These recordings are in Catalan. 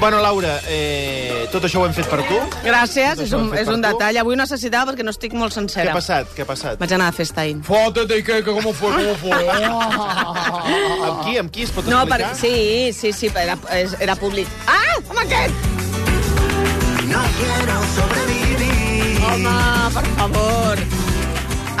Bueno, Laura, eh, tot això ho hem fet per tu. Gràcies, Tot és això Doncs ho un, hem fet és per un tu. detall. Avui no necessitava perquè no estic molt Què Doncs sencera. ha passat? Què ha passat? Vaig anar de festa ahir. Fótete, que, que cómo fue, cómo fue. Amb qui? Amb qui es pot No, per, explicar? sí, sí, sí, era, és- era públic. Ah, home, aquest! Home, per favor.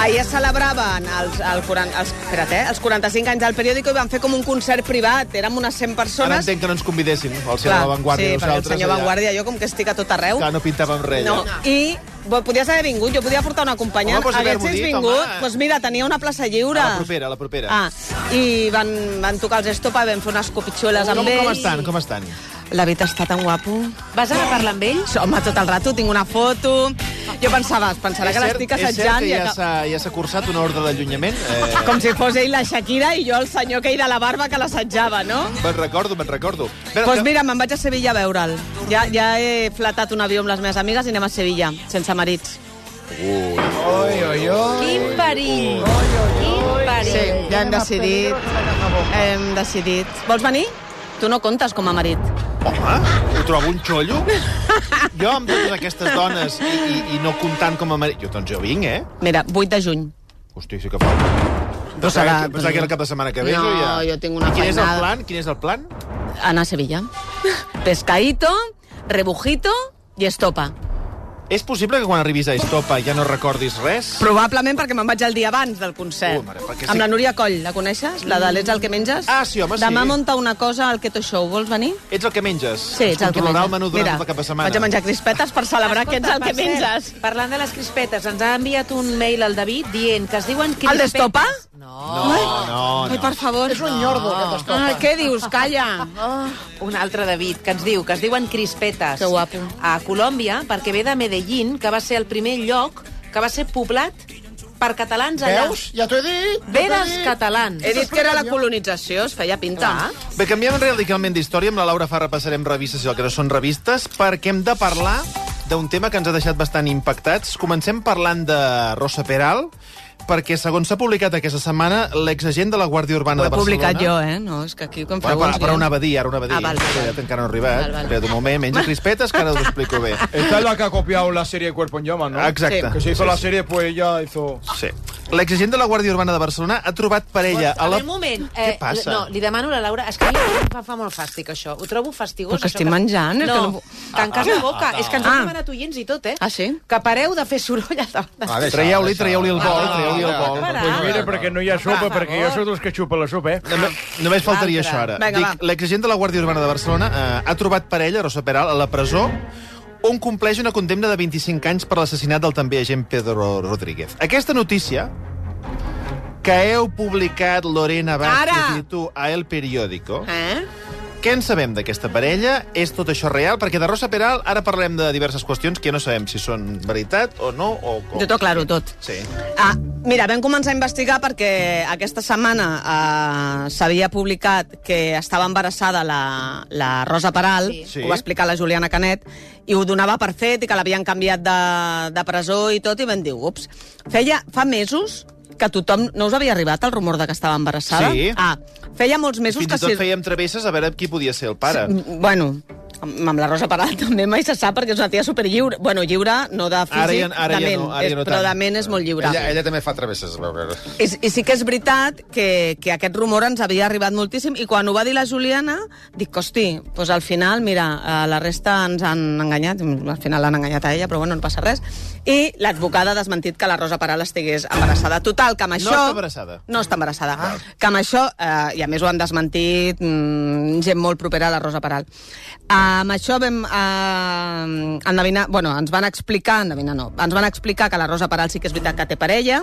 Ahir es celebraven els, el 40, els, espera't, eh, els 45 anys del periòdico i van fer com un concert privat. Érem unes 100 Ara persones. entenc que no ens convidessin, al ser de Clar, la Vanguardia. sí, perquè el nosaltres, senyor allà. Vanguardia, jo com que estic a tot arreu... Clar, no pintàvem res. eh? No. allà. I bo, podies haver vingut, jo podia portar una companya. Home, pues haver-m'ho Haguessis dit, vingut, home. doncs mira, tenia una plaça lliure. A la propera, a la propera. Ah, i van, van tocar els estopa, vam fer unes copitxueles Com, amb Oh, com ells. estan? Com estan? La Vita està tan guapo. Vas anar a parlar amb ells? Sí, Home, tot el rato tinc una foto. Jo pensava, es pensarà És que cert- l'estic és cert assetjant. que i ja acab- s'ha ja s'ha cursat una ordre d'allunyament. Eh, Com si fos ell la Shakira i jo el senyor que hi de la barba que l'assetjava, no? Me'n recordo, me'n recordo. Però, Doncs pues mira, me'n vaig a Sevilla a veure'l. Ja, ja he flatat un avió amb les meves amigues i anem a Sevilla, sense marits. Oi, oi, oi. Quin perill! Quin Sí, perill! ja hem decidit. Hem decidit. Vols venir? Tu no comptes com a marit. Home, ho trobo un xollo. Jo amb totes aquestes dones i, i, i no comptant com a marit... Jo, doncs jo vinc, eh? Mira, 8 de juny. Hosti, sí que falta. Pensava serà, que- Pensava que era el cap de setmana que ve. No, ja. jo tinc una I quin és el feinada. plan? Quin és el plan? Anar a Sevilla. Pescaíto, rebujito i estopa. És possible que quan arribis a Estopa ja no recordis res? Probablement perquè me'n vaig el dia abans del concert. Uh, mare, perquè sí. Amb la Núria Coll, la coneixes? La de l'Ets el que menges? Ah, sí, home, sí. Demà munta una cosa al Keto Show. Vols venir? Ets el que menges. Ens Sí, ets el tota que controlarà menges. el menú durant tot el cap de setmana. Vaig a menjar crispetes per celebrar que ets el que per cert, menges. Parlant de les crispetes, ens ha enviat un mail al David dient que es diuen crispetes... El d'estopa? No. No, no, Ai, no. per favor. És un nyordo, aquest estopa. Ah, què dius? Calla. Un altre David, que ens diu que es diuen crispetes. Que guapo. A Colòmbia, perquè ve de Medellín, que va ser el primer lloc que va ser poblat per catalans allà. Veus? Ja t'ho he dit. Ve dels catalans. He dit que era la colonització, es feia pinta. Bé, canviem radicalment d'història. Amb la Laura Farra passarem revistes i el que no són revistes, perquè hem de parlar d'un tema que ens ha deixat bastant impactats. Comencem parlant de Rosa Peral, perquè, segons s'ha publicat aquesta setmana, l'exagent de la Guàrdia Urbana Ho he de Barcelona... publicat jo, eh? No, és que aquí com Bueno, feu però, uns però guions. anava a dir, ara anava a dir. Ah, val, val, Espera't, val. encara no ha arribat. Val, val. Espera't un moment, menja crispetes, que ara us ho explico bé. Esta es la que ha copiado la serie Cuerpo en Llamas, ¿no? Exacte. Que se hizo la serie, pues ella hizo... Sí. L'exagent de la Guàrdia Urbana de Barcelona ha trobat parella A a la... veure, un moment. eh, Què passa? No, li demano a la Laura... És que a mi em fa, fa molt fàstic, això. Ho trobo fastigós. Però que això estic menjant, és No, que no- no... tanques la boca. és que ens Ah. han demanat oients i tot, eh? Ah, sí? Que pareu de fer soroll a davant. Ah, deixa, Traieu-li, deixa. traieu-li el bol, traieu-li el bol. Para. Pues mira, Ah. perquè no hi ha sopa, Per perquè jo favor. soc dels que xupa la sopa, eh? Només, només faltaria això ara. Vinga, Dic, va. L'exagent de la Guàrdia Urbana de Barcelona eh, ha trobat parella, Rosa Peral, a la presó on compleix una condemna de 25 anys per l'assassinat del també agent Pedro Rodríguez. Aquesta notícia que heu publicat Lorena Ara! Vázquez i tu a El Periódico. Eh? Què en sabem d'aquesta parella? És tot això real? Perquè de Rosa Peral ara parlem de diverses qüestions que ja no sabem si són veritat o no. O, o... Jo t'ho aclaro tot. Sí. Ah, mira, vam començar a investigar perquè aquesta setmana eh, s'havia publicat que estava embarassada la, la Rosa Peral, Sí. ho va explicar la Juliana Canet, i ho donava per fet i que l'havien canviat de, de presó i tot, i vam dir, ups. Feia, fa mesos que tothom... No us havia arribat el rumor de que estava embarassada? Sí. Ah, feia molts mesos Fins i que... tot fèiem travesses a veure qui podia ser el pare. Mm, Bueno, amb amb la Rosa Peral també mai se sap perquè és una tia superlliure. Bueno, lliure, no de físic, Ara ja- ara de ja ment, no, ara ja no és- però tant. de ment és molt lliure. Ella, ella també fa travesses. a veure. I, I sí que és veritat que, que aquest rumor ens havia arribat moltíssim i quan ho va dir la Juliana dic, hosti, doncs al final, mira, a la resta ens han enganyat, al final l'han enganyat a ella, però bueno, no passa res, i l'advocada ha desmentit que la Rosa Peral estigués embarassada. Total, que amb això... està embarassada. No està embarassada. Que amb això, eh, i a més ho han desmentit mm, gent molt propera a la Rosa Peral. Eh, amb això vam eh, endevinar... Bueno, ens van explicar, endevinar no, ens van explicar que la Rosa Peral sí que és veritat que té parella,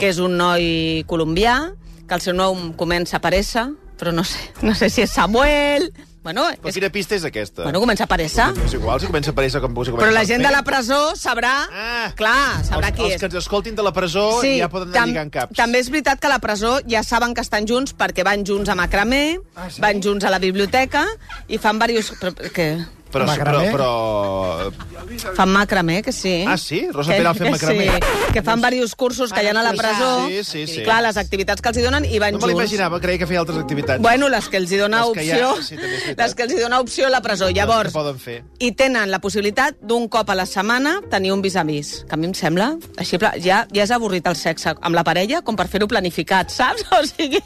que és un noi colombià, que el seu nom comença per S, però no sé, no sé si és Samuel, Bueno, Però és... quina pista és aquesta? bueno comença per S. És igual, si comença per essa com si comença Però la gent per P. de la presó sabrà... Ah. Clar, sabrà els, qui els és. que ens escoltin de la presó ja poden anar lligant caps. També és veritat que a la presó ja saben que estan junts perquè van junts a macramé, ah, sí? van junts a la biblioteca i fan diversos... Però, que... Però, sí, però, eh? Macramé? però... Fan macramé, que sí. Ah, sí? Rosa Que- Peral fent que macramé. Sí, que fan diversos cursos que hi ha a la presó. Sí, sí, sí. Clar, les activitats que els hi donen i van No me junts. l'imaginava, creia que feia altres activitats. Bueno, les que els hi dona Les que hi ha, opció, sí, també és veritat. Doncs les que els hi dona opció a la presó. Llavors, que poden fer. i tenen la possibilitat d'un cop a la setmana tenir un vis a vis, que a mi em sembla, així, pla- ja, ja és avorrit el sexe amb la parella com per fer-ho planificat, saps? O sigui,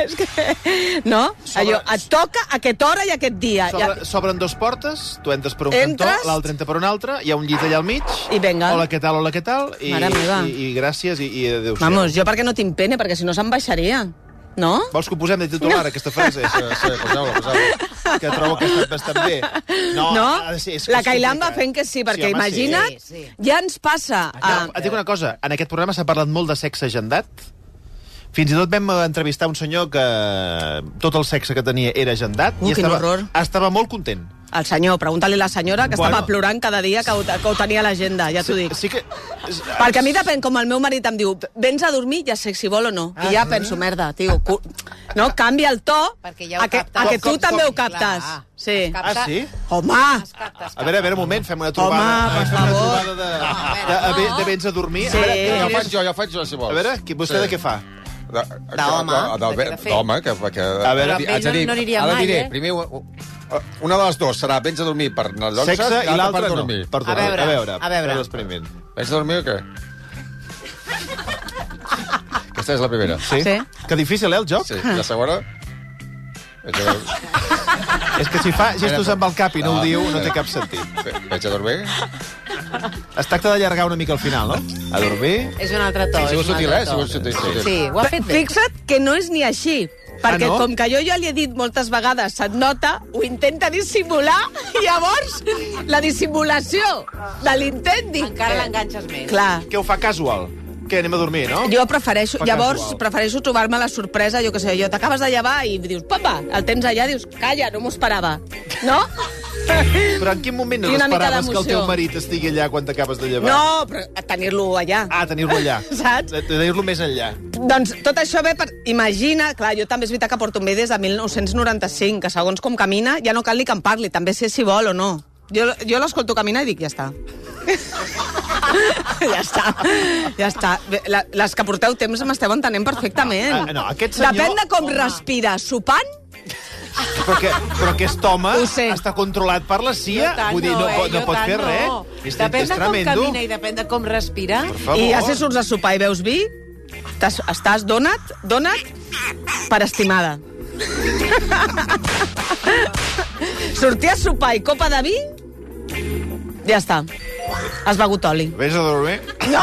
és que... No? Allò, et toca a aquesta hora i a aquest dia. S'obre- Ah, Ja, S'obren dos portes, tu entres per un Entres? cantó, l'altre entra per un altre, hi ha un llit allà al mig. I venga. Hola, què tal, hola, què tal? I, Mare meva. i, i gràcies i, i adéu-siau. vamos, jo perquè no tinc pene, perquè si no se'n baixaria. No? Vols que ho posem de titular, aquesta frase? Sí, sí, poseu-la, poseu-la. que trobo que ha estat bastant bé. No, ha de ser- és, la és Cailan va complicat. fent que sí, perquè home, imagina't, ah. Sí, sí. ja ens passa... a- No, et dic una cosa, en aquest programa s'ha parlat molt de sexe agendat. Fins i tot vam entrevistar un senyor que tot el sexe que tenia era agendat. Uh, i quin estava, horror. estava molt content. El senyor, pregunta-li a la senyora, que Bueno. bueno. estava plorant cada dia que ho, que ho tenia a l'agenda, ja t'ho dic. Sí que... Perquè a mi depèn, com el meu marit em diu, vens a dormir, ja sé si vol o no. I ja penso, merda, tio, cu... no, canvia el to Perquè ja ho a que, captes. a que tu Com- com- també com- ho captes. clar. Sí. Cap- Ah, sí? Home! A veure, a veure, un moment, fem una trobada. Home, per fem una favor. Ah, trobada de, de, de, de, de vens a dormir. Sí. A veure, Ja ho quin faig jo, ja ho faig jo, si vols. A veure, qui, vostè sí. de què fa? D'home. D'home, De què d'home, que... que A veure. haig Amb de ell no- dir- no aniria ara mai, diré, eh? Primer, u- u- una de les dues serà vens a dormir per les 11 Sexe i l'altre per no. dormir. Per dormir. A veure, a veure. a veure. Per l'experiment. Vens a dormir o què? Aquesta és la primera. Sí? Sí. Que difícil, eh, el joc? Sí, i la segona... Vens a dormir. És que si fa gestos amb el cap i no, No, ho diu, no sí. té cap sentit. Vens a dormir? Es tracta d'allargar una mica al final, no? A dormir... És un altre to. Si és vols un sutil, altre eh? to. Si vols sutil. sutil. Sí, ho ha fet bé. Fixa't que no és ni així. Perquè Ah, no? com que jo ja li he dit moltes vegades, se't nota, ho intenta dissimular, i llavors la dissimulació de l'intent dic... Encara l'enganxes més. Clar, Que ho fa casual. Que anem a dormir, no? Jo prefereixo, Fa llavors, casual. prefereixo trobar-me la sorpresa, jo que sé, jo t'acabes de llevar i dius, papa, el tens allà, dius, calla, no m'ho esperava, no? Però en quin moment no I una mica t'esperaves que el d'emoció. teu marit estigui allà quan t'acabes de llevar? No, però tenir-lo allà. Ah, tenir-lo allà. Saps? De- Tenir-lo més enllà. Doncs tot això ve per... Imagina, clar, jo també és veritat que porto amb ell des de 1995, que segons com camina ja no cal ni que em parli, també sé si vol o no. Jo, jo l'escolto caminar i dic, ja està. ja està, ja està. Bé, la- Les que porteu temps m'esteu entenent perfectament. Ah, no, aquest senyor- Depèn de com respira, sopant Però, que, però aquest home Ho sé. està controlat per la CIA. Jo tant Vull dir, no, eh? pot, no Jo pot tant fer no. res. És, Depèn és de com tremendo. camina i depèn de com respira. Per favor. I ja si surts a sopar i veus vi, estàs, estàs donat, donat per estimada. Sortir a sopar i copa de vi, ja està. Has begut oli. Vés a dormir, No?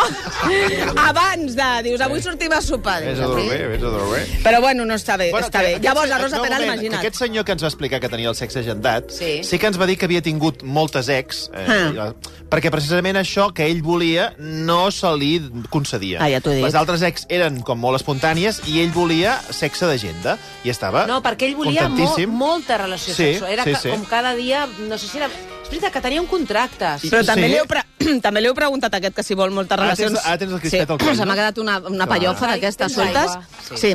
Abans de... Dius, avui sortim a sopar. vés Dius, a avui. dormir, vés a dormir. Eh, Però bueno, no està bé, bueno, està que bé. aquest Llavors, senyor- a Rosa no, un Peral, moment, imagina't. Que aquest senyor que ens va explicar que tenia el sexe agendat, Sí. sí que ens va dir que havia tingut moltes ex, eh, Ah. i la- perquè precisament això que ell volia no se li concedia. Ah, ja t'ho he dit. Les altres ex eren com molt espontànies i ell volia sexe d'agenda. I estava No, perquè ell volia mo contentíssim. molta relació Sí, sexual. Era sí, ca- sí. com cada dia, no sé si era... És veritat que tenia un contracte. Sí. Però també, Sí. li heu pre... també li heu preguntat a aquest que si vol moltes Ara tens- relacions... ara tens el crispet al coll, Se no? m'ha quedat una, una pallofa Ai, d'aquestes tens soltes. aigua. Sí. sí.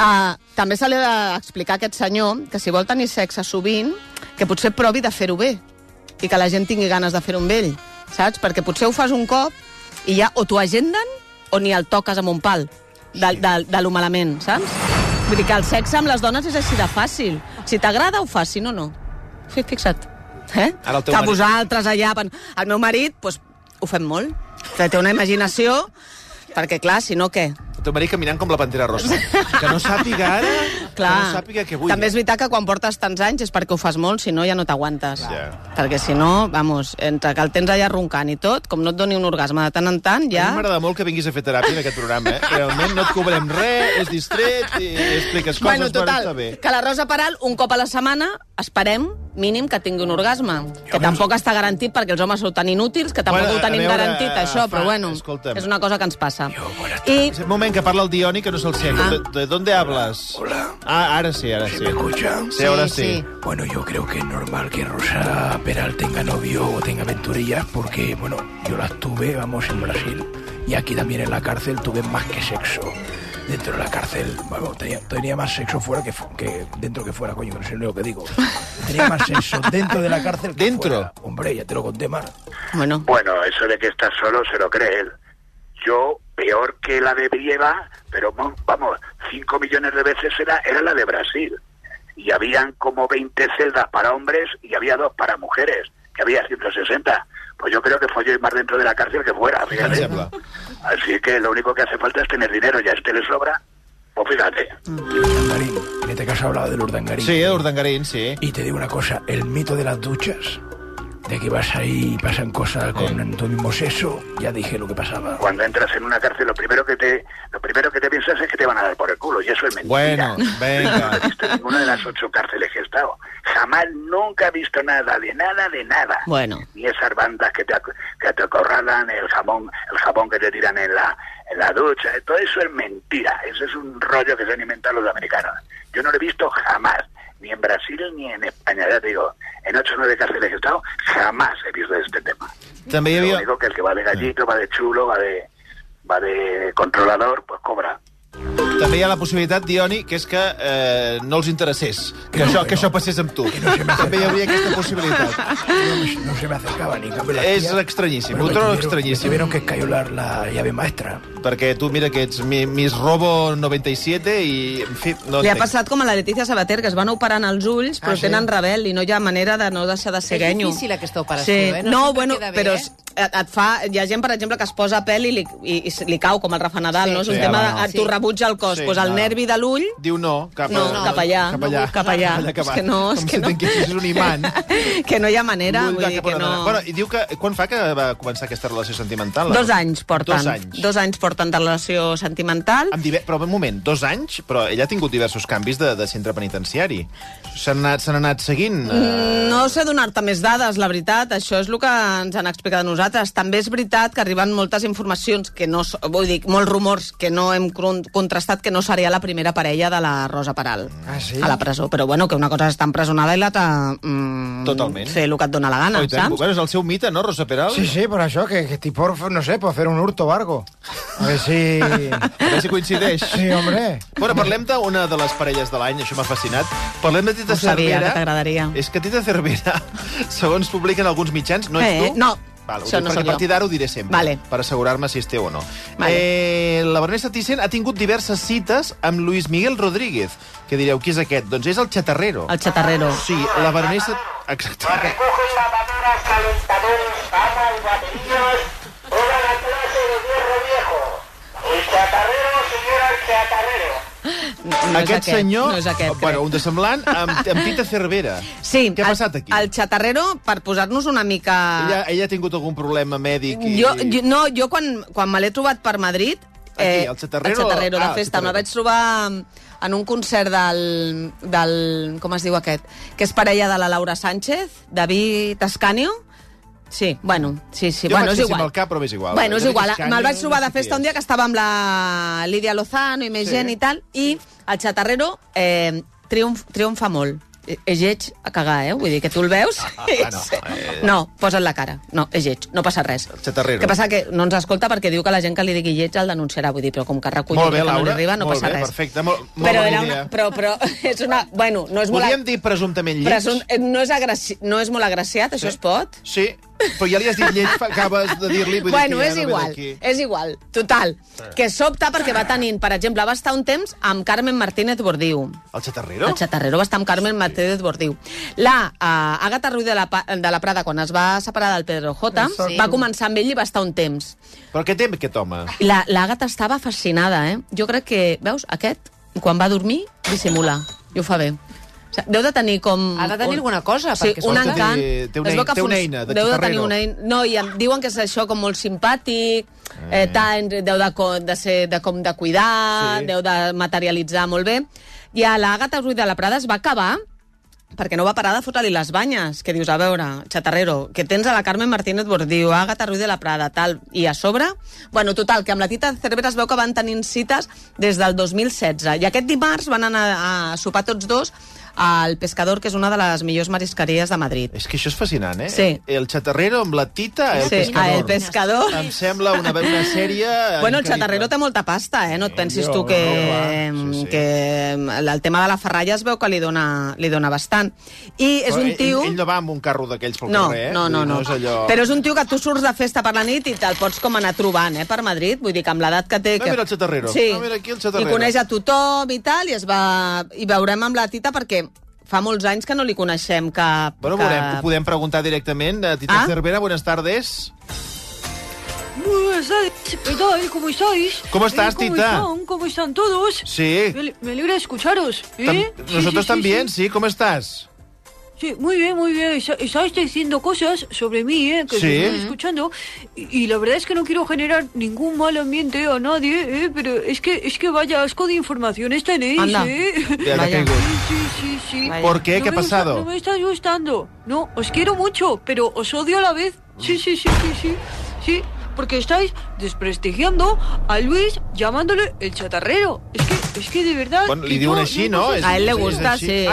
Uh, també se li ha d'explicar a aquest senyor que si vol tenir sexe sovint, que potser provi de fer-ho bé i que la gent tingui ganes de fer-ho amb ell, saps? Perquè potser ho fas un cop i ja o t'ho agenden o ni el toques amb un pal de, de, de lo malament, saps? Vull dir que el sexe amb les dones és així de fàcil. Si t'agrada, ho fas, si no, no. Fi- Fixa't. Eh? Ara el teu que marit- vosaltres allà... pen- El meu marit, doncs, ho fem molt. Que té una imaginació, perquè, clar, si no, què? El teu marit caminant com la pantera rosa. que no sàpiga ara, Clar, que no sàpiga què vull. eh? també és veritat que quan portes tants anys és perquè ho fas molt, si no ja no t'aguantes. Ja. Perquè si no, vamos, entre que el tens allà roncant i tot, com no et doni un orgasme de tant en tant, ja... A mi m'agrada molt que vinguis a fer teràpia en aquest programa, eh? Realment no et cobrem res, és distret, i expliques coses, bueno, total, però està bé. que la Rosa Peral, un cop a la setmana, esperem mínim que tingui un orgasme, que tampoc està garantit perquè els homes sou tan inútils que tampoc Bueno, ho a tenim veure, garantit, això, Fran, però bueno, escolta'm. és una cosa que ens passa. I Un moment, que parla el Dioni, que no se'l sent. Ah. ¿De, ¿De dónde hablas? Hola. Ah, ahora sí, ahora sí. Sí, ahora sí. sí. Bueno, yo creo que es normal que Rosa Peral tenga novio o tenga aventurillas porque, bueno, yo las tuve, vamos, en Brasil y aquí también en la cárcel tuve más que sexo. Dentro de la cárcel, vamos, tenía, tenía más sexo fuera que, fu- que dentro que fuera, coño, que no sé lo que digo. Tenía más sexo dentro de la cárcel que ¿Dentro? fuera. Hombre, ya te lo conté, Mar. bueno, Bueno, eso de que estás solo se lo cree él. Yo, peor que la de Brieva, pero mo- vamos, 5 millones de veces era, era la de Brasil. Y habían como 20 celdas para hombres y había dos para mujeres, que había 160. Pues yo creo que folléis más dentro de la cárcel que fuera, Per fíjate. exemple. Así que lo único que hace falta es tener dinero, ya este le sobra. Pues fíjate. Mm. Urdangarín, en este caso hablaba del Urdangarín. Sí, Urdangarín, sí. Y te digo una cosa, el mito de las duchas, de que vas ahí y pasan cosas con tu mismo sexo, ya dije lo que pasaba. Cuando entras en una cárcel, lo primero que te lo primero que te piensas es que te van a dar por el culo, y eso es mentira. Bueno, venga. he visto en ninguna de las ocho cárceles que he estado. Jamás, nunca he visto nada, de nada, de nada. Bueno. Ni esas bandas que te, ac- que te acorralan, el jamón, el jabón que te tiran en la, en la ducha. eh, Todo eso es mentira. Eso es un rollo que se han inventado los americanos. Yo no lo he visto jamás, ni en Brasil ni en España. Ya te digo, en ocho o nueve cárceles que he estado, jamás he visto este tema. També hi Lo havia... único que el que va de gallito, va de chulo, va de, va de controlador, pues cobra. També hi ha la possibilitat, Dioni, que és que eh, no els interessés. Que, això, que això passés amb tu. També hi hauria aquesta possibilitat. No, no se me acercaba ni cambio la Es tía. extrañísimo, Bueno, me otro tuvieron- extrañísimo. me Tuvieron que escayolar la llave maestra. Perquè tu, mira, que ets mi, Miss Robo 97 i, en fi, no li ha entenc. passat com a la Letícia Sabater, que es van operant els ulls, però Ah, ah, sí? sí? tenen rebel i no hi ha manera de no deixar de ser És guenyo. difícil, aquesta operació, eh? No No, sempre bueno, queda bé, però eh? es- et, et fa... Hi ha gent, per exemple, que es posa pèl i li, i, i se- li cau, com el Rafa Nadal, Sí. sí, no? És un Sí, sí, tema ah, de... bueno. Et t'ho rebutja el cos. Sí, Sí, pues el clar. nervi de l'ull... Diu no, cap, No, a- cap allà, Cap no allà, vull cap allà. És que no, és Com que no. si tinguessis un imant. que no hi ha manera, Vull vull anar dir cap que on ha no... d'anar. Bueno, I diu que... Quan fa que va començar aquesta relació sentimental? la Dos Rosa? anys porten. Dos anys. Dos anys porten de relació sentimental. Amb diver... Però, un moment, dos anys? Però ella ha tingut diversos canvis de, de centre penitenciari. S'han anat, s'han anat seguint... eh, No sé donar-te més dades, la veritat. Això és el que ens han explicat a nosaltres. També és veritat que arriben moltes informacions, que no, so- vull dir, molts rumors que no hem con- contrastat que no seria la primera parella de la Rosa Peral Ah, sí? a la presó. Però bueno, que una cosa és estar empresonada i l'altra... Mm, Totalment. Fer el que et dona la gana, Oh, i Oi, tant. Mm, saps? Bueno, és el seu mite, no, Rosa Peral? Sí, sí, por eso, que, que tipo, no sé, por hacer un hurto o algo. A ver si... A veure si coincideix. Sí, hombre. Bueno, parlem d'una de les parelles de l'any, això m'ha fascinat. Parlem de Tita Ho sabia, Cervera. que t'agradaria. És que Tita Cervera, segons publiquen alguns mitjans, no ets Eh, tu? no, Val, ho això dic, no perquè sóc a jo. partir d'ara ho diré sempre, Vale. per assegurar-me si esteu o no. Vale. Eh, la Vanessa Thyssen ha tingut diverses cites amb Luis Miguel Rodríguez, que direu, qui és aquest? Doncs és el xatarrero. El xatarrero. Sí, la Vanessa... Exacte. Recogen lavadoras, calentadores, pamas, baterías, toda la clase de hierro viejo. El chatarrero, señora el chatarrero. No, no és aquest senyor... No és aquest, crec. bueno, un de semblant, amb, amb Tita Cervera. Sí, Què ha passat aquí? El xatarrero, per posar-nos una mica... Ella, ella ha tingut algun problema mèdic i... Jo, jo, no, jo quan, quan me l'he trobat per Madrid... Aquí, al Chatarrero? El xatarrero de Ah, al festa. Chatarrero. Me Eh, la vaig trobar en un concert del, del... Com es diu aquest? Que és parella de la Laura Sánchez, David Ascanio. Sí, bueno, sí, sí. Jo bueno, vaig és dir si igual. amb el cap, però m'és igual. Bueno, és David igual. eh? Ascanio, Me'l vaig trobar no de sé qui festa un és. dia que estava amb la Lídia Lozano i més Sí. sí. gent i tal, i el xatarrero eh, triomf, triomfa molt. Eh, És lleig a cagar, eh? Vull dir que tu el veus... i- ah, no, eh. no, posa't la cara. No, és lleig, no passa res. xatarrero. Que passa que no ens escolta perquè diu que la gent que li digui lleig el denunciarà, vull dir, però com que recull Molt bé, que no li Laura, arriba, no molt passa bé, res. perfecte, molt- molt però bona era idea. una, però, però és una... Bueno, no és Podríem molt... dir presumptament lleig? Presun... eh, No, és agraci... no és molt agraciat, això es pot? Sí, però ja li has dit lleig, fa- acabes de dir-li... vull dir Bueno, que ja és no ve igual, Eh, d'aquí. és igual. Total, que sobta perquè va tenint, per exemple, va estar un temps amb Carmen Martínez Bordiu. El xatarrero? El xatarrero va estar amb Carmen Martínez Bordiu. La uh, Agatha Ruiz de la, Pa- de la Prada, quan es va separar del Pedro J, Sí. va començar amb ell i va estar un temps. Però què té aquest home? I la- L'Àgata estava fascinada, eh? Jo crec que, veus, aquest, quan va a dormir, dissimula, i ho fa bé. O sigui, deu de tenir com... Ha de tenir alguna cosa, Sí, perquè un escolta, encant. té- té una Es veu ei- que té una fun- eina de Deu de tenir xatarrero. una eina... No, i em diuen que és això com molt simpàtic, eh, tant, deu de, co- de, ser, de com de cuidar, Sí. sí. deu de materialitzar molt bé. I a l'Àgata Ruiz de la Prada es va acabar perquè no va parar de fotre-li les banyes, que dius, a veure, xatarrero, que tens a la Carmen Martínez Bordiu, a Agatha Ruiz de la Prada, tal, i a sobre... Bueno, total, que amb la Tita Cervera es veu que van tenint cites des del 2016, i aquest dimarts van anar a sopar tots dos al Pescador, que és una de les millors marisqueries de Madrid. És que això és fascinant, eh? Sí. El xatarrero amb la tita, eh, el Sí, pescador. a El Pescador. Em sembla una, una sèrie... Bueno, el increïble. xatarrero té molta pasta, eh? No et pensis tu que, mm, que el tema de la ferralla es veu que li dona, li dona bastant. I és Però un ell- tio... Ell, no va amb un carro d'aquells pel No, carrer, eh? no, no, Vull dir, no. no és allò... Però és un tio que tu surts de festa per la nit i te'l pots com anar trobant, eh, per Madrid. Vull dir que amb l'edat que té... Ah, Que... mira el xatarrero. Sí. Ah, mira aquí el xatarrero. I coneix a tothom i tal, i es va... I veurem amb la Tita perquè fa molts anys que no li coneixem cap... Bueno, cap... veurem, ho podem preguntar directament. Eh, Tita Ah. Cervera, buenas tardes. Buenas tardes, ¿qué tal? ¿Cómo estáis? ¿Cómo estás, Eh, ¿Cómo Tita? están? ¿Cómo están todos? Sí. Me ale- Me alegra escucharos. ¿eh? Tam- Sí, Nosotros sí, sí, también, Sí, sí. ¿Cómo estás? Sí, muy bien, muy bien. Esa- Estáis diciendo cosas sobre mí, ¿eh? Que Sí. estoy escuchando. Y, y la verdad es que no quiero generar ningún mal ambiente a nadie, ¿eh? Pero es que, es que vaya asco de informaciones tenéis, Anda. ¿eh? Ya la caigo. Sí, sí, sí. Vaya. ¿Por qué? No ¿Qué ha me gusta- pasado? no me estáis gustando. No, os quiero mucho, pero os odio a la vez. Sí, sí, sí, sí, sí. Sí, porque estáis desprestigiando a Luis llamándole el chatarrero. Es que, es que de verdad... Bueno, que li diuen yo- així, yo no? És- sé- és així. A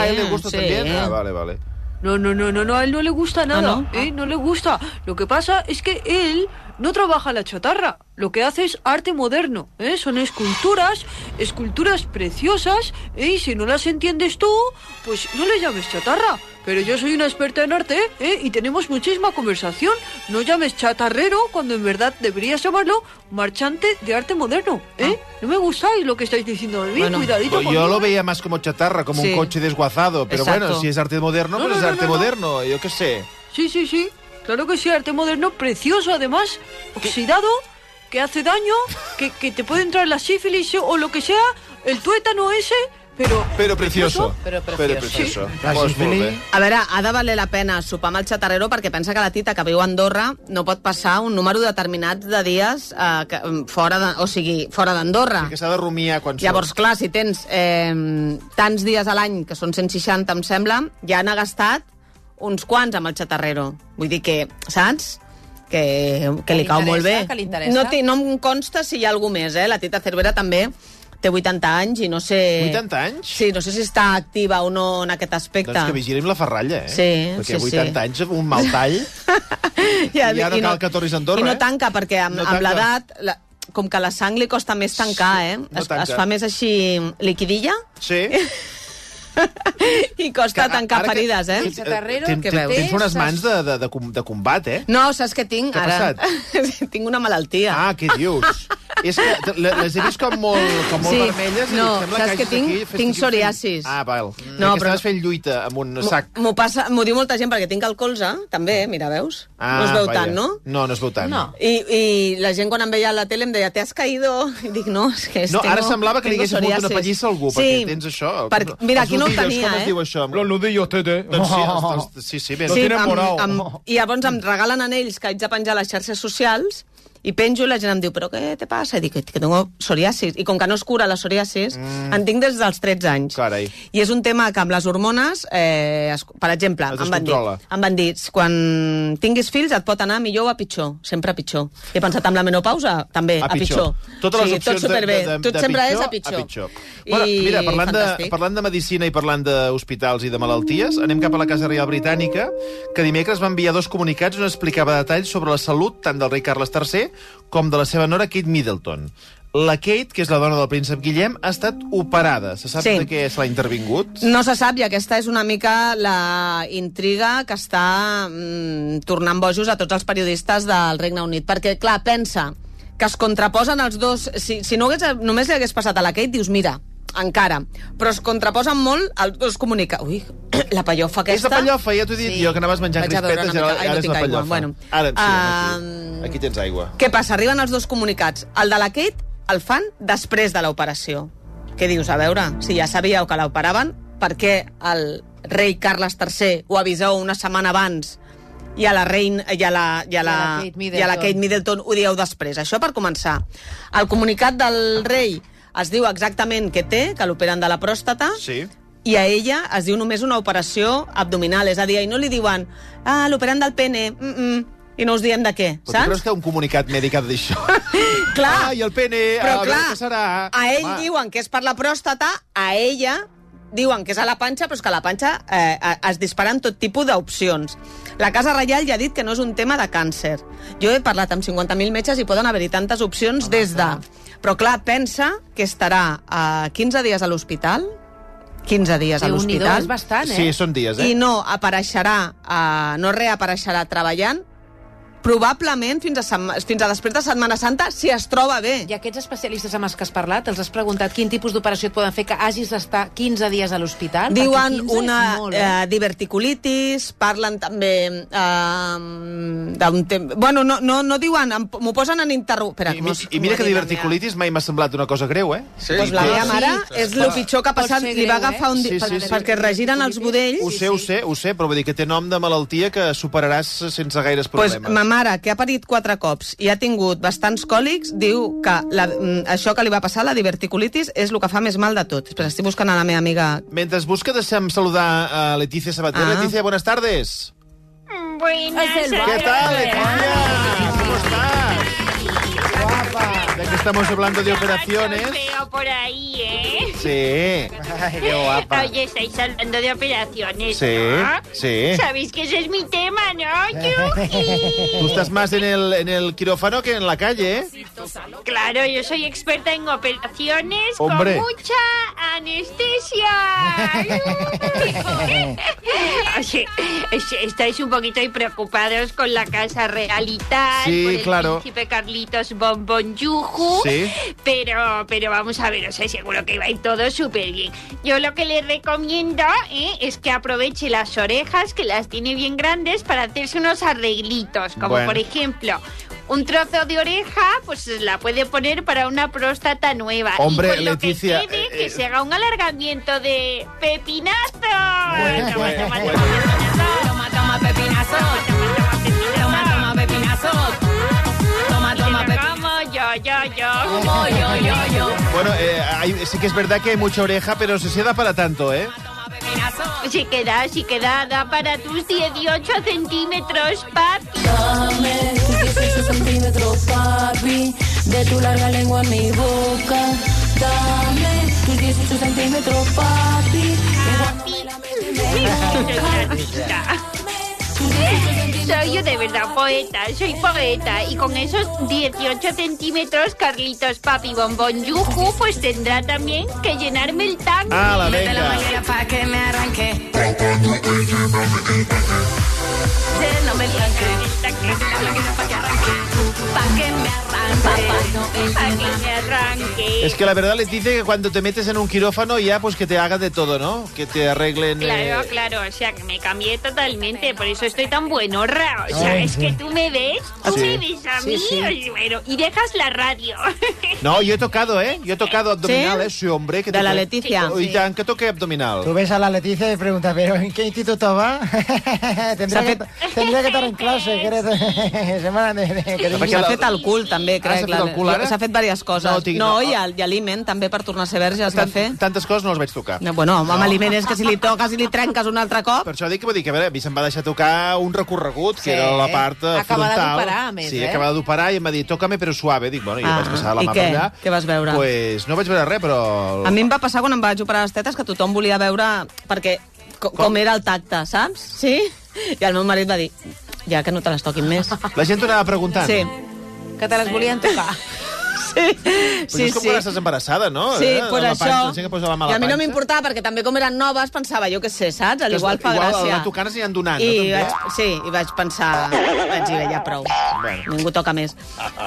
él le gusta también. Ah, vale, vale. no, no, no, no, no, a él no le gusta Ah, nada, no? ¿eh? No le gusta. Lo que pasa es que él no trabaja la chatarra, lo que hace es arte moderno, ¿eh? Son esculturas, esculturas preciosas, ¿eh? Y si no las entiendes tú, pues no le llames chatarra. Pero yo soy una experta en arte, ¿eh? Y tenemos muchísima conversación. No llames chatarrero cuando en verdad deberías llamarlo marchante de arte moderno, ¿eh? No me gustáis lo que estáis diciendo de mí, cuidadito Pues yo conmigo. lo veía más como chatarra, como Sí. un coche desguazado. Pero Exacto. bueno, si es arte moderno, No, pues no, es no, arte no, no. moderno. Yo qué sé. Sí, sí, sí. Claro que sí, arte moderno, precioso además, oxidado, que hace daño, que, que te puede entrar la sífilis o lo que sea, el tuétano ese, pero... Pero precioso. Pero Pero precioso. precioso. Sí. Pues molt sífilis. bé. A veure, ha de valer la pena sopar amb el xatarrero perquè pensa que la tita que viu a Andorra no pot passar un número determinat de dies eh, que, mm, fora de, o sigui, fora d'Andorra. Que s'ha de rumiar quan Doncs Llavors, clar, si tens eh, tants dies a l'any, que són 160, em sembla, ja n'ha gastat uns quants amb el xatarrero. Vull dir que, saps? Que, que li Que l'interessa, cau molt bé. que li interessa. no, té, no em consta si hi ha algú més, eh? La Tita Cervera també té 80 anys i no sé... 80 anys? Sí, no sé si està activa o no en aquest aspecte. Doncs que vigilem la ferralla, eh? Sí, Perquè sí, 80 sí. anys, un mal tall... Ja, I ara i no- cal que tornis a Andorra, I no eh? tanca, perquè amb, No amb tanca. l'edat, la, com que la sang li costa més tancar, eh? no es, tanca. es fa més així liquidilla Sí. i costa tancar ara que- ferides, eh? El xatarrero Ten- que ten- veus. tens unes mans de- de- de com- de combat, eh? No, saps què tinc Què ha ara? passat? tinc una malaltia. Ah, què dius? És que le- les he vist com molt, com molt Sí. vermelles i No, em sembla saps que que hagis tinc- aquí... fet- tinc estic fent- psoriasis. Ah, val. No, No, però- però... Estaves fent lluita amb un sac. M'ho passa- m'ho diu molta gent perquè tinc el colze, també, mira, veus? Ah, no es veu vaja. tant, no? No, no es veu tant. I, I la gent quan em veia a la tele em deia te has caído? I dic, no, és que... No, tengo- ara semblava que li tengo haguessis fot una psoriasis." pallissa a algú, sí. perquè tens això. Per- Com- mira, els aquí no ho nudillos, tenia, Com eh? es diu això? Los nudillos, tete. Doncs sí, els, els, sí, sí, ben. Sí, amb, amb, I llavors em regalen anells que haig de penjar a les xarxes socials i penjo i la gent em diu, però què te passa? I dic, que tengo psoriasis. I com que no es cura la psoriasis, mm. en tinc des dels 13 anys. Carai. I és un tema que amb les hormones, eh, es, per exemple, Es em van, dir, descontrola. em van dir, quan tinguis fills et pot anar millor o a pitjor, sempre a pitjor. I he pensat amb la menopausa, també, a, pitjor. Totes les sí, opcions tot superbé, de, de, de, tot sempre pitjor, és a pitjor. A pitjor. Bueno, I mira, parlant de, fantàstic. parlant de medicina i parlant d'hospitals i de malalties, anem cap a la Casa Reial Britànica, que dimecres va enviar dos comunicats on explicava detalls sobre la salut tant del rei Carles III com de la seva nora Kate Middleton. La Kate, que és la dona del príncep Guillem, ha estat operada. Se sap Sí. de què se l'ha intervingut? No se sap, i aquesta és una mica la intriga que està mm, tornant bojos a tots els periodistes del Regne Unit. Perquè, clar, pensa que es contraposen els dos... Si, si no hagués, només li hagués passat a la Kate, dius, mira, encara. Però es contraposen molt els dos comunica... Ui, la pallofa És aquesta... la pallofa, ja t'ho he dit jo, que anaves menjant Vaig a beure crispetes i una ara, mica. Ai, ara no és tinc la aigua. pallofa. Bueno. Ara, sí, Ehm, um... aquí tens aigua. Què passa? Arriben els dos comunicats. El de la Kate el fan després de l'operació. Què dius? A veure, si ja sabíeu que l'operaven, per què el rei Carles III ho aviseu una setmana abans i a la reina i a la, i a la, I a la Kate i Middleton. a la Kate Middleton ho dieu després. Això per començar. El comunicat del rei es diu exactament què té, que l'operen de la pròstata, Sí. i a ella es diu només una operació abdominal, és a dir, i no li diuen ah, l'operant del pene, mm -mm, i no us diem de què, Però tu saps? creus que un comunicat mèdic ha de dir això? Clar, Ah, i el pene, però a veure clar, què serà. a ell Home. diuen que és per la pròstata, a ella diuen que és a la panxa, però és que a la panxa eh, a- es disparen tot tipus d'opcions. La Casa Reial ja ha dit que no és un tema de càncer. Jo he parlat amb 50.000 metges i poden haver-hi tantes opcions des de... Però clar, pensa que estarà eh, 15 dies a l'hospital, 15 dies a Déu-n'hi-do, l'hospital. és bastant, eh? Sí, són dies, eh? I no apareixerà, eh, no reapareixerà treballant, probablement fins a, setma- fins a després de Setmana Santa, si es troba bé. I aquests especialistes amb els que has parlat, els has preguntat quin tipus d'operació et poden fer que hagis d'estar 15 dies a l'hospital? Diuen Perquè 15 és una molt, eh? eh? diverticulitis, parlen també eh, d'un temps... Bueno, no, no, no diuen, em- m'ho posen en interro... Espera, I, mi- I mira que diverticulitis mai m'ha semblat una cosa greu, eh? Sí, Pues la Sí, meva sí. mare Sí, és clar. el pitjor que ha Pot passat. ser Li greu, va eh? agafar un... Di... Sí, sí, per- sí. perquè es regiren els budells. Ho sé, ho sé, ho sé, però vull dir que té nom de malaltia que superaràs sense gaires Pues problemes. ma mare, que ha parit quatre cops i ha tingut bastants còlics, diu que la, mm, això que li va passar, la diverticulitis, és el que fa més mal de tot. Espera, estic buscant a la meva amiga... Mentre busca, deixem saludar a Leticia Sabater. Ah. Leticia, buenas tardes. Buenas ¿Qué tal, Leticia? ¿Cómo estás? Ya que estamos hablando de operaciones... Veo por ahí, ¿eh? Sí. Ay, qué guapa. Oye, estáis hablando de operaciones, Sí, ¿no? sí. Sabéis que ese es mi tema, ¿no, Yuki? Tú estás más en el, en el quirófano que en la calle, ¿eh? Claro, yo soy experta en operaciones Hombre. con mucha anestesia. Eh. Así, es- estáis un poquito ahí preocupados con la casa realital, Sí, por el claro. príncipe Carlitos Bombón Yuju, Sí. pero, pero vamos a ver, o sea, seguro que va a ir todo súper bien. Yo lo que les recomiendo ¿eh? es que aproveche las orejas, que las tiene bien grandes, para hacerse unos arreglitos, como Bueno. por ejemplo... Un trozo de oreja, pues la puede poner para una próstata nueva. Hombre, y con lo Leticia, que quede, eh, que eh. se haga un alargamiento de pepinazo. Bueno, Toma, bueno, toma, bueno. toma. Toma, toma, pepinazo. Toma, toma, pepinazo. Toma, toma, Te lo pepinazo. como yo, yo, yo. Como yo, yo, yo. Bueno, eh, hay- sí que es verdad que hay mucha oreja, pero se se da para tanto, ¿eh? Toma, pepinazo. Si queda, si queda, da para tus 18 centímetros, papi. de tu larga lengua en mi boca. Dame tus 18 centímetros, papi. Soy yo de verdad poeta, soy poeta. Y con esos 18 centímetros, Carlitos Papi Bombón Yuju, pues tendrá también que llenarme el tanque. Ah, la venga. Métela manguera pa' que me arranque. Lléname el tanque. Pa' que me arranque. Para que me arranque. Es que la verdad les dice que cuando te metes en un quirófano ya pues que te haga de todo, ¿no? Que te arreglen... Claro, eh, claro, o sea, que me cambié totalmente, por eso estoy tan buenorra. O sea, es que tú me ves, tú Sí. me ves a mí, bueno, y dejas la radio. No, yo he tocado, ¿eh? Yo he tocado abdominal, ¿Sí? ¿eh? Sí, hombre. Que De la toqué- Leticia. Y tan que toqué abdominal. Tú ves a la Leticia y preguntas, ¿pero en qué instituto va? tendría, que, tendría que estar en clase, que eres de- semana de... de- que Perquè S'ha la- fet el cul, també, crec. s'ha fet la- el cul, ara? S'ha fet diverses coses. No, No, digui, no. no, i, el, i aliment, també, per tornar a ser verge, es va fer. Tantes coses no les vaig tocar. eh? No, bueno, amb no. aliment és que si li toques i li trenques un altre cop... Per això dic que, vull dir que a, veure, a mi se'm va deixar tocar un recorregut, que Sí. era la part eh, Acabada frontal. d'operar, a més, sí, eh? acabada d'operar, i em va dir, toca'me però suave. Dic, bueno, jo Ah, vaig passar la i mà què? per allà. Què vas veure? Pues no vaig veure res, però... A mi em va passar quan em vaig operar les tetes que tothom volia veure perquè co com? era el tacte, saps? Sí? I el meu marit va dir, ja que no te les toquin més. La gent t'ho anava preguntant. Sí, Que te les volien tocar. sí, Pues sí. és com quan sí. estàs embarassada, no? Sí, Eh? pues la això. Panxa, la gent que posa la mà a I la a mi no panxa. m'importava, perquè també com eren noves, pensava, jo què sé, saps? Al Que igual fa igual gràcia. la tocant aniran donant, I no, també? vaig, sí, i vaig pensar, vaig dir, ja prou, bueno. ningú toca més.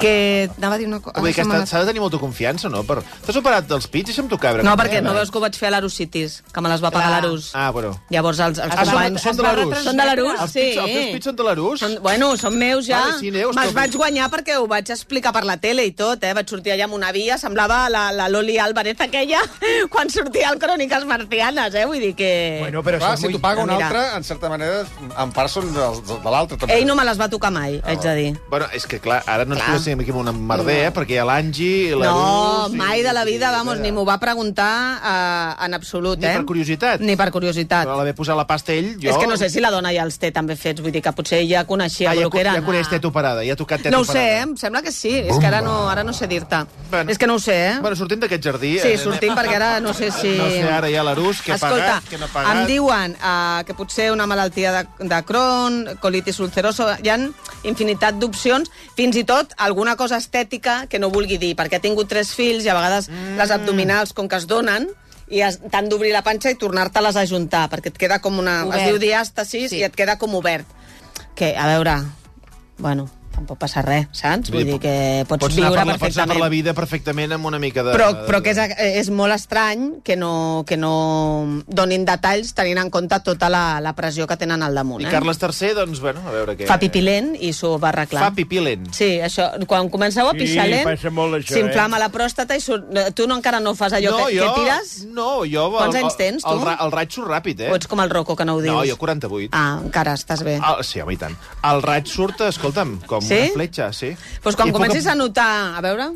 Que anava a dir una cosa... Vull dir que s'ha- s'ha de tenir molta confiança, no? Per... T'has operat dels pits? Deixa'm tocar. a veure No, com perquè queda. no veus que ho vaig fer a l'Arocitis, que me les va pagar Clar. l'Arus. Ah, bueno. Llavors els, els Ah, són, companys... són de l'Arús? Són de l'Arús, Els sí. pits- Els teus pits són de l'Arús? Són, bueno, són meus ja. Vale, sí, Neus, Me'ls però- vaig guanyar perquè ho vaig explicar per la tele i tot, eh? Vaig sortia allà amb una via, semblava la, la Loli Álvarez aquella quan sortia al Cròniques Marcianes, eh? Vull dir que... Bueno, però Ah, Clar, si t'ho paga un altre, en certa manera, en part són dels, dels de l'altre, també. Ell no me les va tocar mai, haig de dir. Bueno, és que, clar, ara no ens poséssim aquí amb una merder, eh? Perquè hi ha l'Angi, la No, Luz... mai de la vida, vamos, ni m'ho va preguntar eh, en absolut, Ni eh? per curiositat. Ni per curiositat. Però l'haver posat la pasta ell, jo... És que no sé si la dona ja els té també fets, vull dir que potser ella coneixia Ah, el ja, que co- era. ja coneix Teto Parada, ja ha tocat Teto No ho sé, eh? Parada. em sembla que sí. És que ara no, ara no sé dir-te. Bueno. És que no ho sé, eh? Bueno, sortim d'aquest jardí... Sí, eh, sortim perquè ara no sé si... No sé, ara hi ha l'Arús, que ha Escolta, pagat, que no ha pagat... em diuen uh, que potser una malaltia de, de Crohn, colitis ulcerosa, hi han infinitat d'opcions, fins i tot alguna cosa estètica que no vulgui dir, perquè ha tingut tres fills i a vegades mm. les abdominals, com que es donen, i es- t'han d'obrir la panxa i tornar-te-les a ajuntar, perquè et queda com una... Obert. Es diu diàstasis sí. i et queda com obert. Que, a veure, bueno, tampoc passa res, saps? Vull dir que pots, pots viure anar per la, Pots anar perfectament per la vida perfectament amb una mica de... però, de- però que és, eh, és molt estrany que no, que no donin detalls tenint en compte tota la, la pressió que tenen al damunt. I Eh? Carles III, doncs, bueno, a veure què... Fa pipí lent i s'ho va arreglar. Fa pipí lent. Sí, això, quan comenceu a Sí, pixar lent, passa molt això, s'inflama eh? la pròstata i surt... eh, tu no, encara no fas allò no, que, jo, que tires? No, jo... Quants el, anys tens, tu? El, ra- el ratxo ràpid, eh? O ets com el Rocco, que no ho dius? No, jo 48. Ah, encara estàs bé. Ah, sí, home, i tant. El raig surt, escolta'm, com Sí? una fletxa, sí. Doncs quan I puc- comencis a notar... A veure,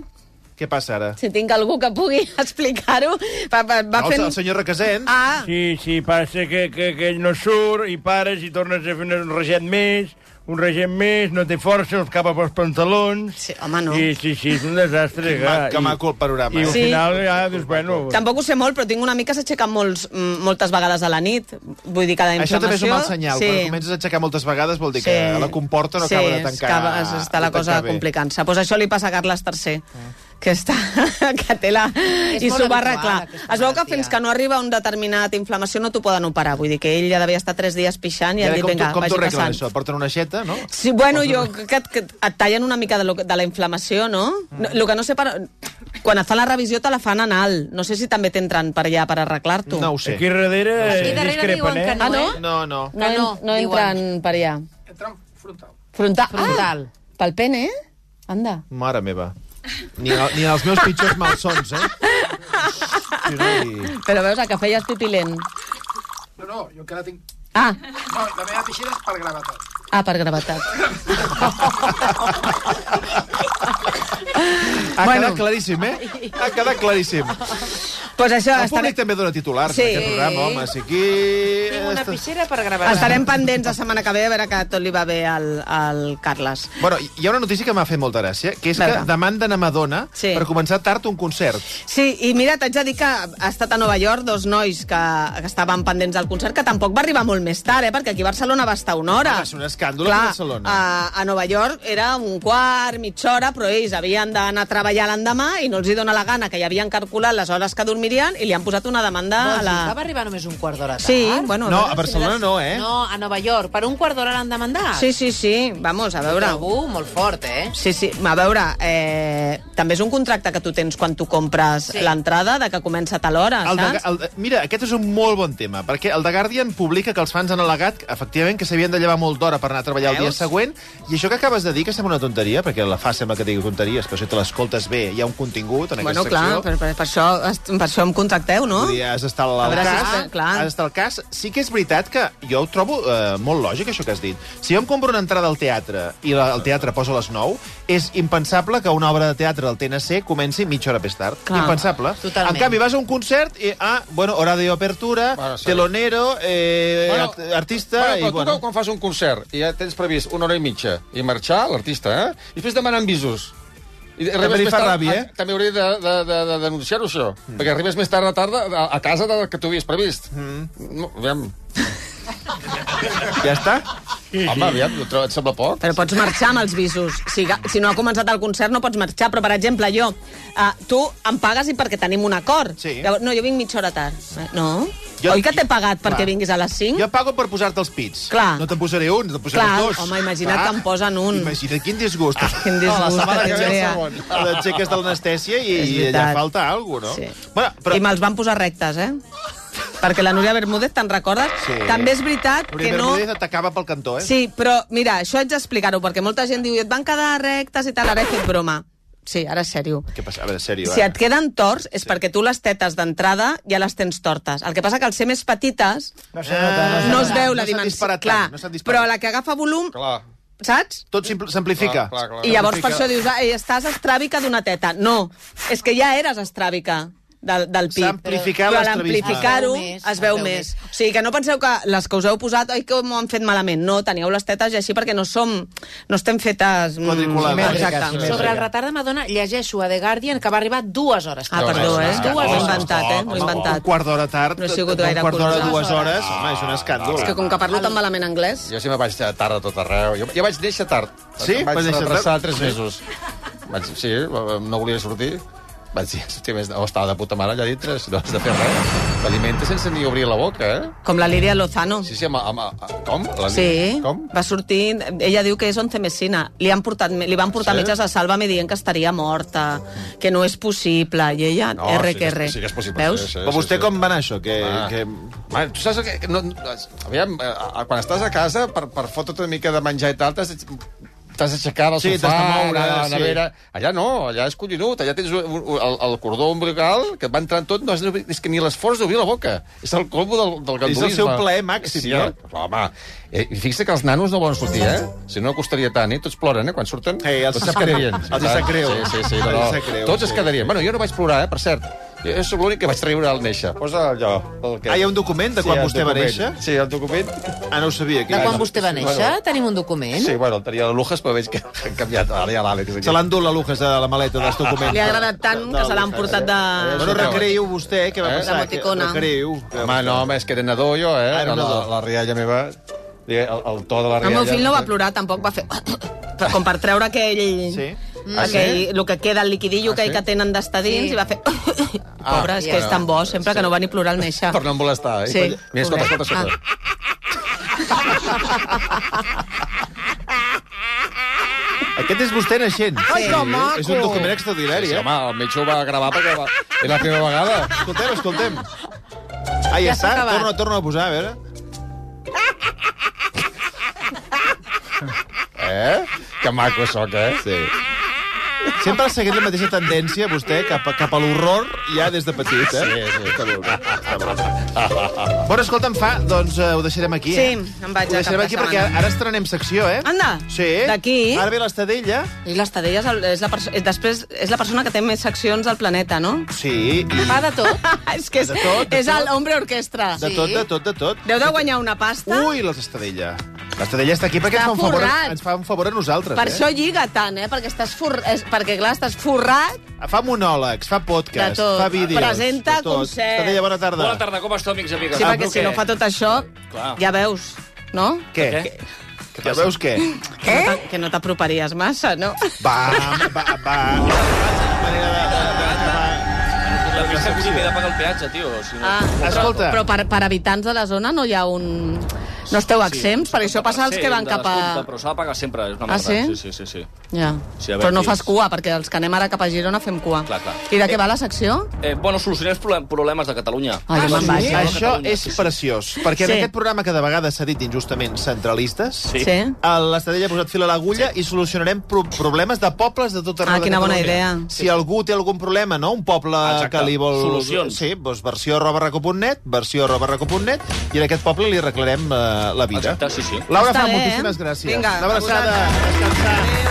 Què passa ara? si tinc algú que pugui explicar-ho... Va, va, va No, el- fent... el senyor Requesens. Ah, Sí, sí, passa que, que, que ell no surt, i pares, i tornes a fer un reget més, un reget més, no té força, els capa pels pantalons... Sí, home, no. I, sí, sí, és un desastre. Que ma- que maco el panorama, I, eh? al Sí. final ja dius, bueno... Tampoc ho sé molt, però tinc una mica que s'aixeca molts, mm, moltes vegades a la nit. Vull dir que la Això inflamació... també és un mal senyal. Sí. Quan comences a aixecar moltes vegades vol dir que Sí. la comporta no sí, acaba de tancar. acaba, es- està la de tancar cosa bé. Ah. complicant-se. Pues això li passa a Carles III, que està, que té la... És I molt s'ho va habitual, arreglar. Es veu que fins que no arriba a un determinat inflamació no t'ho poden operar. Vull dir que ell ja devia estar tres dies pixant I i ara han dit, com, vinga, tu, com t'ho vagi arreglen, passant. això? Porten una aixeta, no? Sí, bueno, jo crec que, que et tallen una mica de, lo, de la inflamació, no? no? Lo que no sé per... Quan et fan la revisió te la fan anal. No sé si també t'entren per allà per arreglar-t'ho. No ho sé. Aquí darrere, Aquí eh, darrere discrepen, eh? Ah, no? No, no. No, en- no, entren per allà. Entren frontal. Frontal. frontal. Ah, pel pene, eh? Anda. Mare meva. Ni, el- ni els meus pitjors malsons, eh? Hosti, Però veus, a que feies pipi lent. No, no, jo encara tinc... Ah, No, la meva pixera és per gravetat. ah per gravetat. Ha bueno. quedat claríssim, eh? Ha quedat claríssim. Pues això, El estarem, públic també dona titulars Sí. sí. en aquest programa, home. Si aquí... Tinc una pixera per gravar. estarem pendents la setmana que ve a veure que tot li va bé al, al Carles. Bueno, hi ha una notícia que m'ha fet molta gràcia, que és que Veure. demanden a Madonna Sí. sí. per començar tard un concert. Sí, i mira, t'haig de dir que ha estat a Nova York dos nois que, que estaven pendents del concert, que tampoc va arribar molt més tard, eh? perquè aquí a Barcelona va estar una hora. Ah, Va ser un escàndol Clar, aquí a Barcelona. A, a Nova York era un quart, mitja hora, però ells havien d'anar a treballar l'endemà i no els hi dona la gana, que ja havien calculat les hores que dormirien i li han posat una demanda No, a la... Va arribar només un quart d'hora tard. Sí, bueno, No, a veure si Barcelona no, eh? No, a Nova York. Per un quart d'hora l'han demandat. Sí, sí, sí, vamos, a veure. Algú molt fort, eh? Sí, sí, a veure, eh, també és un contracte que tu tens quan tu compres sí. l'entrada, de que comença a tal hora, El de, saps? el, de- mira, aquest és un molt bon tema, perquè el The Guardian publica que els fans han al·legat, efectivament, que s'havien de llevar molt d'hora per anar a treballar el dia Veus? següent, i això que acabes de dir, que sembla una tonteria, perquè la fa sembla que digui tonteries, però si te l'escoltes bé, hi ha un contingut en Bueno, aquesta clar, secció. per, per, per, això, est- per això em contacteu, no? Vull dir, has d'estar Ah? A al veure si cas. està- clar. Has d'estar al cas. Sí que és veritat que jo ho trobo eh, molt lògic, això que has dit. Si jo em compro una entrada al teatre i la, el teatre posa a les 9, és impensable que una obra de teatre del TNC comenci mitja hora més tard. Clar. Impensable. Totalment. En canvi, vas a un concert i, ah, bueno, hora d'apertura, bueno, telonero, eh, Bueno, bueno, art artista... Bueno, però i, tu bueno. quan- quan fas un concert i ja tens previst una hora i mitja i marxar, l'artista, eh? I després demanen visos. I També arribes li més fa tard, ràbia, a- eh? També hauria de, de, de, de denunciar-ho, això. Mm. Perquè arribes més tard a tarda a, a casa del que tu havies previst. Mm. No, aviam. Ja està? Sí, Home, aviam, ho trobo, et sembla poc? Però pots marxar amb els visos. Si, ga- si no ha començat el concert no pots marxar, però, per exemple, jo, uh, tu em pagues i perquè tenim un acord. Sí. Llavors, no, jo vinc mitja hora tard. Eh, No? Jo- Jo, Oi que t'he pagat Clar. perquè vinguis a les 5? Jo pago per posar-te els pits. Mm? Clar. No te'n posaré un, te'n posaré Clar, dos. home, imagina't que em posen un. Ah, Imagina't, quin disgust. Quin disgust, la setmana que que tens ve idea. l'aixeques de l'anestèsia i, És i allà veritat. falta alguna cosa, Sí. no? Bueno, Però... I me'ls van posar rectes, eh? perquè la Núria Bermúdez, te'n recordes? Sí. També és veritat Núria que no... Bermúdez atacava pel cantó, eh? Sí, però mira, això haig d'explicar-ho, perquè molta gent diu, et van quedar rectes i tal, ara he fet broma. Sí, ara és sèrio. Què passa? A veure, sèrio, eh? Si et queden torts és perquè tu les tetes d'entrada ja les tens tortes. El que passa que al ser més petites no, se nota, no se no es nota. veu No la s'ha dimensió. disparat clar, tant, no s'ha disparat. però la que agafa volum, Clar. saps? Tot simpl- s'amplifica. I llavors per això dius, "Ai, estàs estràbica d'una teta. No, és que ja eres estràbica del, del pit. S'ha amplificat Però a l'estrabisme. l'amplificar-ho Es veu més, es veu més. O sigui, que no penseu que les que us heu posat, oi, que m'ho han fet malament. No, teníeu les tetes i així perquè no som... No estem fetes... mm, Quadriculades. Exacte. Sobre el retard de Madonna, llegeixo a The Guardian que va arribar dues hores. Ah, perdó, eh? Dues Ho he hores. inventat, eh? Ho he Un inventat. quart d'hora tard, No he sigut un gaire quart d'hora, curiosa. dues hores, home, és un escàndol. És que com que parlo tan malament anglès... Jo sí me vaig tard a tot arreu. Jo, jo vaig néixer tard. Sí? Em Vaig Vas néixer tard? retrasar tres Sí. mesos. Vaig, sí, no volia sortir. Vaig dir, hòstia, més, oh, estava de puta mare allà dintre, si no has de fer res. T'alimentes sense ni obrir la boca, eh? Com la Lídia Lozano. Sí, sí, amb... amb, amb com? La, Sí, Com? va sortir... Ella diu que és once mesina. Li, han portat, li van portar Sí? metges a Sálvame dient que estaria morta, que no és possible, i ella, No, R sí que que és- R. sí que és possible, Veus? sí, sí. Però vostè com va anar, això? Que, Ah. que... Man, tu saps que... No, no, aviam, eh, quan estàs a casa, per, per fotre't una mica de menjar i tal, t'has t'has d'aixecar del Sí, sofà, t'has de moure, anar a la sí. nevera... Allà no, allà és collonut, allà tens un- un- el, el cordó umbilical que et va entrant tot, no has d'obrir- és que ni l'esforç d'obrir la boca. És el colmo del, del És el gandulisme. seu plaer màxim, sí, no? eh? Home, eh, i fixa que els nanos no volen sortir, eh? Si no, costaria tant, eh? Tots ploren, eh? Quan surten, Ei, els- tots es quedarien. els hi sap greu. Sí, sí, sí, no, Els hi sap no. greu, Tots sí. es quedarien. Bueno, jo no vaig plorar, eh? Per cert, jo soc l'únic que vaig riure al néixer. Posa allò. El que... Ah, hi ha un document de quan el vostè va document. néixer? Sí, el document... Ah, no ho sabia. De quan vostè va néixer? Bueno. Tenim un document? Sí, bueno, el tenia a Lujas, però veig que han canviat. Ah, Ara hi ha l'Àlex. Se l'han dut la Lujas de la maleta Ah, dels documents. Li ha agradat tant que se l'han portat de... Bueno, recreiu vostè, què va Eh? passar? Que- L'emoticona. Recreieu. Home, no, home, és que era nadó, jo, eh? Ah, era la, nadó. la rialla meva... El, el to de la rialla... El meu fill no va plorar, tampoc va fer... Però com per treure aquell... Sí? Ah, Mm, aquell, sí? el que queda, el liquidillo Ah, aquell sí? Ah, que tenen d'estar Sí. dins, i va fer... Pobre, és que és tan bo, sempre que no va ni plorar al néixer. Per no em molestar, eh? Sí. Mira, escolta, escolta, escolta. Aquest és vostè naixent. Ai, que maco! És un document extraordinari, Sí, sí, eh? home, el metge ho va gravar perquè va... era la primera vegada. Escoltem, escoltem. Ah, ja, Ja està. s'ha acabat. Torna, torna a posar, a veure. Eh? Que maco soc, eh? Sí. Sempre ha seguit la mateixa tendència, vostè, cap, a- cap a l'horror, ja des de petit, eh? Sí, sí. Està molt bé. Està molt bé. Bueno, escolta'm, fa, doncs eh, ho deixarem aquí. Sí, eh? em vaig Ho a deixarem cap de aquí setmana. perquè ara estrenem secció, eh? Anda, Sí. d'aquí... Ara ve l'Estadella. I l'Estadella és, el- és, la perso- és, després, és la persona que té més seccions al planeta, no? Sí. I... Fa de tot. és que és, De tot, de és el tot. hombre orquestra. De tot, de tot, de tot. Deu de guanyar una pasta. Ui, l'Estadella. L'Estadella està aquí perquè ens Està fa, un favor, a- forrat. ens fa un favor a nosaltres, per eh? això lliga tant, eh? Perquè, estàs for... és, perquè clar, estàs forrat. Fa monòlegs, fa De podcast, tot. fa vídeos. Presenta de tot. concerts. Estadella, bona tarda. Bona tarda, com esteu, amics i amigues? Sí, perquè si no fa tot això, Clar. ja veus, no? Què? Què? Què? Ja veus què? Que Eh? no t'a- Que no t'aproparies massa, no? Va, va, va. Manera de- de- La festa que he de pagar el peatge, tio. O sigui, Ah, Escolta. Però per, per habitants de la zona no hi ha un... No esteu exempts? perquè això passa als que van cap a... Però s'ha de pagar sempre, és una Ah, merda. sí? Sí, sí, sí. sí. Ja. Sí, a veure Però no qui fas és. cua, perquè els que anem ara cap a Girona fem cua. Clar, clar. I de què va la secció? Eh, bueno, solucionem els problemes de Catalunya. Ai, jo me'n vaig. Això és preciós, perquè en Sí. aquest programa que de vegades s'ha dit injustament centralistes, Sí. Sí. el- l'Estadella ha posat fil a l'agulla i solucionarem pro problemes de pobles de tot arreu Ah, de quina bona Catalunya. idea. Si algú té algun problema, no? Un poble Exacte. que li vol... Solucions. Sí, doncs versió arroba raco.net, versió arroba raco.net, i en aquest poble li arreglarem eh, la vida. Exacte, sí, sí. Laura, Està fa bé, eh? moltíssimes gràcies. Vinga, Una abraçada. a vosaltres. Descansar. Adéu.